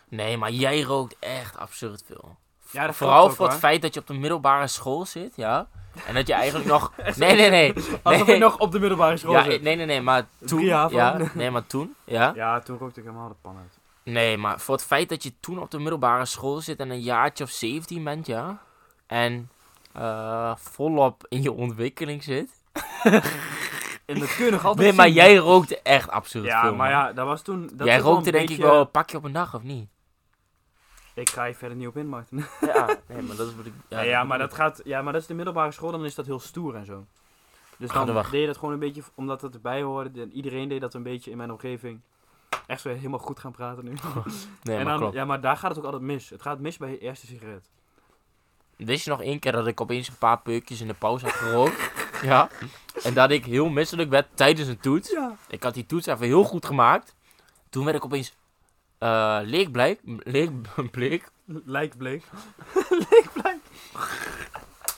S2: Nee, maar jij rookt echt absurd veel.
S1: Ja, dat
S2: Vooral
S1: klopt ook,
S2: voor het
S1: hoor.
S2: feit dat je op de middelbare school zit, ja. En dat je
S1: *laughs*
S2: eigenlijk nog... Nee, nee, nee.
S1: Alsof
S2: Nee.
S1: ik nog op de middelbare school
S2: Ja,
S1: zit.
S2: nee, nee, nee, maar
S1: eh,
S2: toen...
S1: Drie jaar van.
S2: Ja, nee, maar toen, ja.
S1: Ja, toen rookte ik helemaal de pan uit.
S2: Nee, maar voor het feit dat je toen op de middelbare school zit en een jaartje of 17 bent, ja. En eh, volop in je ontwikkeling zit.
S1: En dat kun je nog altijd
S2: Nee, maar
S1: zien.
S2: jij rookte echt absurd
S1: Ja,
S2: veel.
S1: maar
S2: man.
S1: ja, dat was toen... Dat
S2: Jij
S1: was wel
S2: rookte
S1: een
S2: denk ik
S1: beetje-
S2: wel een pakje op een dag, of niet?
S1: Ik ga je verder niet op in, Maarten. Ja,
S2: Ja, nee, maar dat is wat ik...
S1: ja, maar dat gaat... Ja, maar dat is de middelbare school, dan is dat heel stoer en zo. Dus
S2: Ga
S1: dan
S2: er weg.
S1: deed je dat gewoon een beetje, omdat dat erbij hoorde. En iedereen deed dat een beetje in mijn omgeving. Echt zo helemaal goed gaan praten nu.
S2: Nee,
S1: en
S2: maar
S1: dan,
S2: klopt.
S1: ja, maar daar gaat het ook altijd mis. Het gaat mis bij je eerste *laughs* sigaret.
S2: Wist je nog één keer dat ik opeens een paar peukjes in de pauze had gerookt? *laughs* ja. En dat ik heel misselijk werd tijdens een toets.
S1: Ja.
S2: Ik had die toets even heel goed gemaakt. Toen werd ik opeens eh leekbleek. Leek, *laughs* bleek.
S1: Lijkbleek. *laughs* Lijkbleek. *laughs*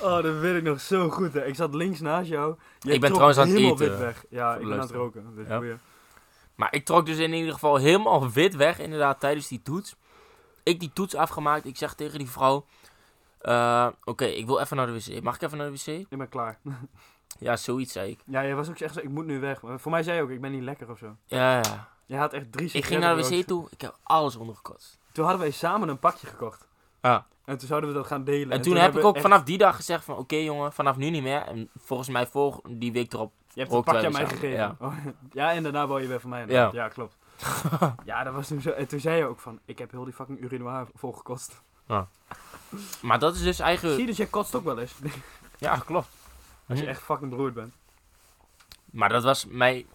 S1: Oh, dat weet ik nog zo goed. Hè. Ik zat links naast jou. Jij
S2: Ik ben
S1: trok
S2: trouwens aan het
S1: helemaal
S2: eten,
S1: wit weg. Ja,
S2: voor
S1: ik
S2: de
S1: ben aan het
S2: luisteraar.
S1: roken. Dat is
S2: Ja.
S1: goeie.
S2: Maar ik trok dus in ieder geval helemaal wit weg, inderdaad, tijdens die toets. Ik die toets afgemaakt. Ik zeg tegen die vrouw... eh, Oké, ik wil even naar de wc. Mag ik even naar de wc?
S1: Ik ben klaar. *laughs*
S2: Ja, zoiets zei ik.
S1: Ja, jij was ook echt zo, ik moet nu weg. Maar voor mij zei je ook, ik ben niet lekker of zo.
S2: Ja, ja.
S1: Jij had echt drie
S2: Ik
S1: sigaretten
S2: ging naar de
S1: gerookt.
S2: wc toe. Ik heb alles ondergekotst.
S1: Toen hadden wij samen een pakje gekocht.
S2: Ah.
S1: En toen zouden we dat gaan delen.
S2: En, toen, heb
S1: hebben
S2: ik
S1: we
S2: ook
S1: echt-
S2: vanaf die dag gezegd van, oké jongen, vanaf nu niet meer. En volgens mij volg die week erop.
S1: Je hebt een
S2: ook
S1: pakje aan
S2: twee
S1: mij
S2: samen,
S1: gegeven.
S2: ja.
S1: Oh, *laughs* ja, en daarna wou je weer van mij. Ja, ja klopt. ja, dat was toen zo. En toen zei je ook van, ik heb heel die fucking urinoir
S2: *laughs*
S1: volgekost.
S2: Maar dat is dus
S1: Zie
S2: eigenlijk...
S1: je, dus jij kotst ook wel eens. *laughs*
S2: Ja, klopt.
S1: Als je echt fucking beroerd bent.
S2: Maar dat was mijn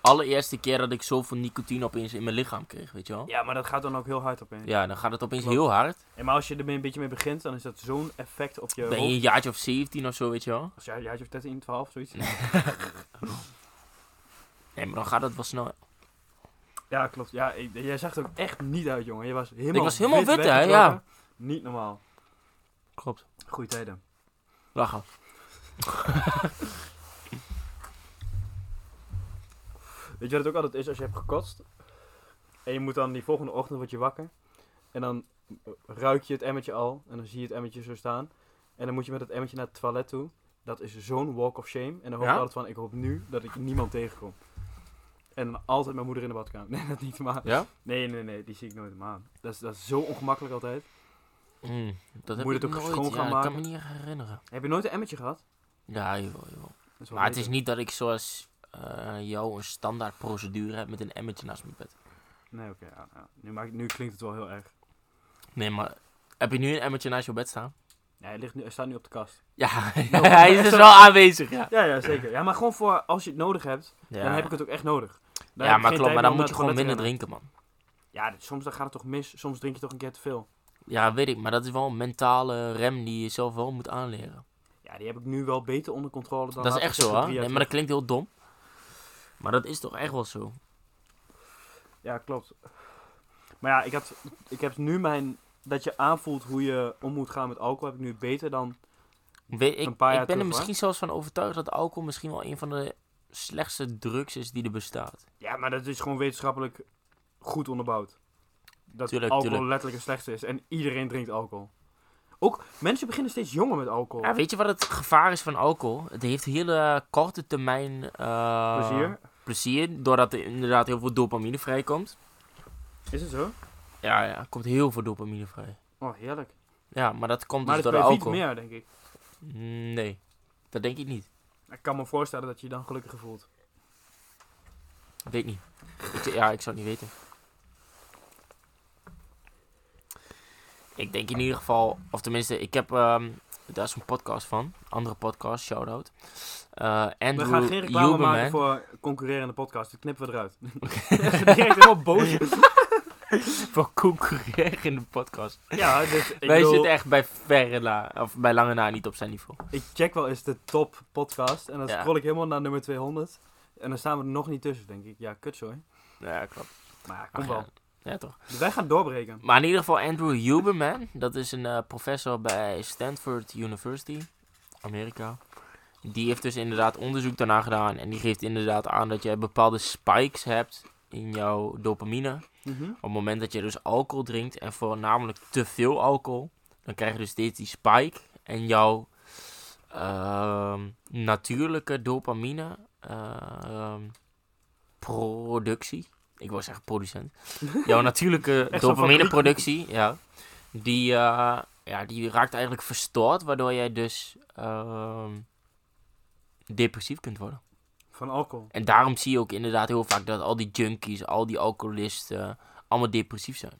S2: allereerste keer dat ik zoveel nicotine opeens in mijn lichaam kreeg, weet je wel.
S1: Ja, maar dat gaat dan ook heel hard op in.
S2: Ja, dan gaat het opeens
S1: Klopt.
S2: heel hard.
S1: En maar als je er een beetje mee begint, dan is dat zo'n effect op je
S2: Ben je
S1: hoofd.
S2: een jaartje of 17 of zo, weet je wel.
S1: Als jij, jij had je 13, 12, zoiets.
S2: Nee, maar dan gaat het wel snel.
S1: Ja, klopt. Ja, ik- jij zag er ook echt niet uit, jongen. Je was helemaal
S2: was helemaal wit, hè?
S1: weggetrokken.
S2: Ja.
S1: Niet normaal.
S2: Klopt.
S1: Goeie tijden.
S2: Lachen.
S1: Weet je wat het ook altijd is als je hebt gekotst? En je moet dan die volgende ochtend word je wakker. En dan ruik je het emmertje al. En dan zie je het emmertje zo staan. En dan moet je met het emmertje naar het toilet toe. Dat is zo'n walk of shame. En dan hoop ik
S2: Ja?
S1: altijd van, ik hoop nu dat ik niemand tegenkom. En dan altijd mijn moeder in de badkamer. *laughs* Nee, dat niet, maar...
S2: Ja?
S1: Nee, nee, nee, die zie ik nooit, maar... Dat is, dat is zo ongemakkelijk altijd.
S2: Mm, dat heb
S1: Moet je
S2: ik
S1: het ook
S2: nooit.
S1: schoon
S2: ja,
S1: gaan
S2: Ik
S1: maken?
S2: kan me niet herinneren.
S1: Heb je nooit een emmertje gehad?
S2: Ja, jawel, jawel.
S1: Dat is wel
S2: Maar het is
S1: beter.
S2: niet dat ik zoals eh, jou een standaard procedure heb met een emmertje naast mijn bed.
S1: Nee, oké. ja, ja. nu, maakt- nu klinkt het wel heel erg.
S2: Nee, maar heb je nu een emmertje naast je bed staan?
S1: Nee, hij, ligt nu, hij staat nu op de kast.
S2: Ja, *laughs*
S1: Nou,
S2: hij is dus wel aanwezig. Ja,
S1: Ja, ja, zeker. Ja, maar gewoon voor als je het nodig hebt, dan heb ik het ook echt nodig. Dan heb
S2: ja
S1: ik
S2: maar
S1: geen
S2: klopt,
S1: tijd
S2: maar
S1: meer
S2: dan
S1: om
S2: moet je
S1: naar
S2: gewoon
S1: het
S2: minder
S1: toilet
S2: drinken, man.
S1: te rennen. Ja, dit- soms dan gaat het toch mis. Soms drink je toch een keer te veel.
S2: Ja, weet ik, maar dat is wel een mentale rem die je zelf wel moet aanleren.
S1: Ja, die heb ik nu wel beter onder controle dan...
S2: dat is
S1: laat ik
S2: echt zo,
S1: zeggen,
S2: hè?
S1: drie
S2: Nee,
S1: jaar
S2: maar dat klinkt heel dom. Maar dat is toch echt wel zo.
S1: terug. Ja, klopt. Maar ja, ik, had, ik heb nu mijn... Dat je aanvoelt hoe je om moet gaan met alcohol, heb ik nu beter dan...
S2: Weet, ik,
S1: Een paar jaar
S2: ik ben er
S1: terug,
S2: misschien zelfs van overtuigd dat alcohol misschien wel een van de slechtste drugs is die er bestaat.
S1: Ja, maar dat is gewoon wetenschappelijk goed onderbouwd. Dat
S2: Tuurlijk,
S1: alcohol
S2: tuurlijk.
S1: letterlijk het slechtste is. En iedereen drinkt alcohol. Ook mensen beginnen steeds jonger met alcohol.
S2: Ja, weet je wat het gevaar is van alcohol? Het heeft hele korte termijn eh,
S1: Plezier.
S2: plezier, doordat er inderdaad heel veel dopamine vrijkomt.
S1: Is het zo?
S2: Ja, ja, er komt heel veel dopamine vrij.
S1: Oh, heerlijk.
S2: Ja, maar dat komt
S1: Maar
S2: dus
S1: dat
S2: door de
S1: is niet
S2: alcohol.
S1: meer, denk ik.
S2: Nee, dat denk ik niet.
S1: Ik kan me voorstellen dat je je dan gelukkiger voelt.
S2: Weet niet. Ik- ja, ik zou het niet weten. Ik denk in ieder geval, of tenminste, ik heb ehm, daar is een podcast van, andere podcast, shout-out. Eh
S1: We
S2: Andrew
S1: gaan geen reclame
S2: Huberman.
S1: maken
S2: *laughs*
S1: voor concurrerende podcast. Dit knippen we eruit. *laughs* Direct helemaal boos.
S2: voor concurreren *laughs* in de podcast.
S1: Ja, dus ik,
S2: Wij
S1: bedoel,
S2: zitten echt bij verre na, of bij lange na niet op zijn niveau.
S1: ik check wel eens de top podcast. En dan
S2: Ja.
S1: scroll ik helemaal naar nummer 200. En dan staan we er nog niet tussen, denk ik. Ja, kut sorry.
S2: Ja, klopt.
S1: Maar ja,
S2: Ach
S1: kom wel.
S2: Ja. ja, toch.
S1: Dus wij gaan doorbreken.
S2: Maar in ieder geval Andrew Huberman, dat is een eh, professor bij Stanford University, Amerika. Die heeft dus inderdaad onderzoek daarna gedaan en die geeft inderdaad aan dat je bepaalde spikes hebt in jouw dopamine.
S1: Mhm.
S2: Op het moment dat je dus alcohol drinkt en voornamelijk te veel alcohol, dan krijg je dus steeds die spike. En jouw ehm, natuurlijke dopamine ehm, productie, ik wou zeggen
S1: *laughs*
S2: producent, jouw natuurlijke
S1: Echt zo'n
S2: dopamineproductie, ja, die, eh, ja, die raakt eigenlijk verstoord, waardoor jij dus ehm, depressief kunt worden.
S1: Van alcohol.
S2: En daarom zie je ook inderdaad heel vaak dat al die junkies, al die alcoholisten, allemaal depressief zijn.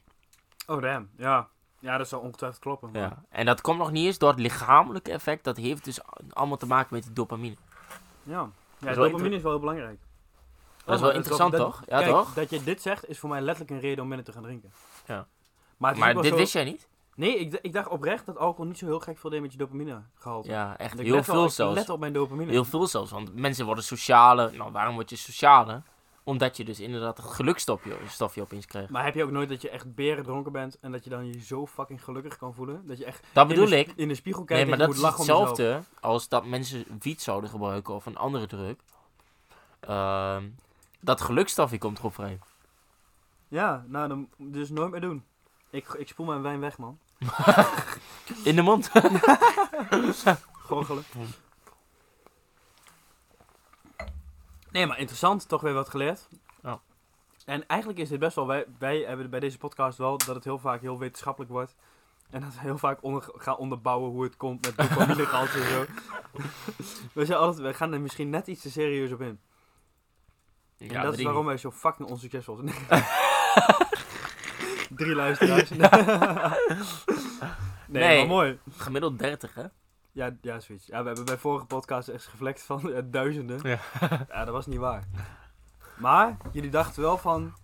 S1: Oh, damn. Ja. Ja, dat zou ongetwijfeld kloppen. maar-
S2: Ja. En dat komt nog niet eens door het lichamelijke effect. Dat heeft dus allemaal te maken met die dopamine.
S1: Ja. Ja,
S2: wel
S1: dopamine
S2: inter-
S1: is wel heel belangrijk. Oh,
S2: Dat is wel interessant, toch? Ja,
S1: Kijk,
S2: toch?
S1: dat je dit zegt is voor mij letterlijk een reden om minder te gaan drinken.
S2: Ja.
S1: Maar, het is
S2: Maar
S1: ook wel
S2: dit
S1: zo-
S2: wist jij niet?
S1: Nee, ik, d- ik dacht oprecht dat alcohol niet zo heel gek veel deed met je dopamine gehalte.
S2: Ja, echt
S1: Want ik
S2: heel
S1: let wel-
S2: veel
S1: ik
S2: zelfs.
S1: Let op mijn dopamine.
S2: Heel veel zelfs. Want mensen worden socialer. Nou, waarom word je socialer? Omdat je dus inderdaad het gelukstofje stofje opeens krijgt.
S1: Maar heb je ook nooit dat je echt beren dronken bent en dat je dan je zo fucking gelukkig kan voelen? Dat je echt
S2: Dat
S1: in
S2: bedoel
S1: de,
S2: ik.
S1: in de spiegel kijkt
S2: Nee, maar
S1: en je
S2: dat
S1: dus moet
S2: is
S1: lachen om jezelf.
S2: hetzelfde als dat mensen wiet zouden gebruiken of een andere druk. Ehm, dat gelukstofje komt erop vrij.
S1: Ja, nou, dan, dus nooit meer doen. Ik, ik spoel mijn wijn weg, man.
S2: In de mond. *laughs*
S1: Gorgelen. Nee, maar interessant. Toch weer wat geleerd.
S2: Ja.
S1: En eigenlijk is dit best wel... Wij, wij hebben bij deze podcast wel dat het heel vaak heel wetenschappelijk wordt. En dat we heel vaak onder, gaan onderbouwen hoe het komt met dopaminegehalte en
S2: *laughs*
S1: zo. we, zijn altijd, we gaan er misschien net iets te serieus op in. En dat is waarom wij zo fucking onsuccesvol zijn.
S2: *laughs*
S1: Drie luisteraars. *laughs* nee,
S2: Nee.
S1: maar mooi.
S2: Gemiddeld 30, hè?
S1: Ja, ja, zoiets. Ja, we hebben bij vorige podcast echt geflext van ja, duizenden.
S2: Ja.
S1: *laughs* Ja, dat was niet waar. Maar jullie dachten wel van,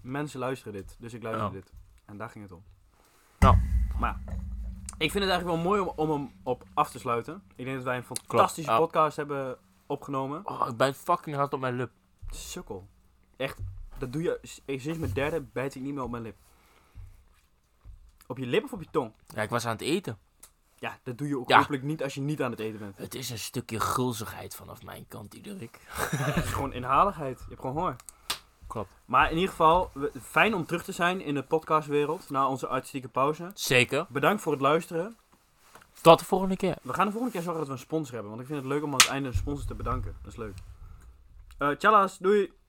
S1: mensen luisteren dit, dus ik luister
S2: Ja.
S1: dit. En daar ging het om.
S2: Nou.
S1: Maar ja, ik vind het eigenlijk wel mooi om, om hem op af te sluiten. Ik denk dat wij een fantastische
S2: Ja.
S1: podcast hebben opgenomen.
S2: Oh, ik ben fucking hard op mijn lip.
S1: Sukkel. Echt, dat doe je. eh, Sinds mijn derde bijt ik niet meer op mijn lip. Op je lip of op je tong?
S2: Ja, ik was aan het eten.
S1: Ja, dat doe je ook
S2: Ja.
S1: hopelijk niet als je niet aan het eten bent.
S2: Het is een stukje gulzigheid vanaf mijn kant, Diederik.
S1: Het is gewoon inhaligheid. Je hebt gewoon honger.
S2: Klopt.
S1: Maar in ieder geval, we- fijn om terug te zijn in de podcastwereld na onze artistieke pauze.
S2: Zeker.
S1: Bedankt voor het luisteren.
S2: Tot de volgende keer.
S1: We gaan de volgende keer zorgen dat we een sponsor hebben. Want ik vind het leuk om aan het einde een sponsor te bedanken. Dat is leuk. Eh tjallas, doei!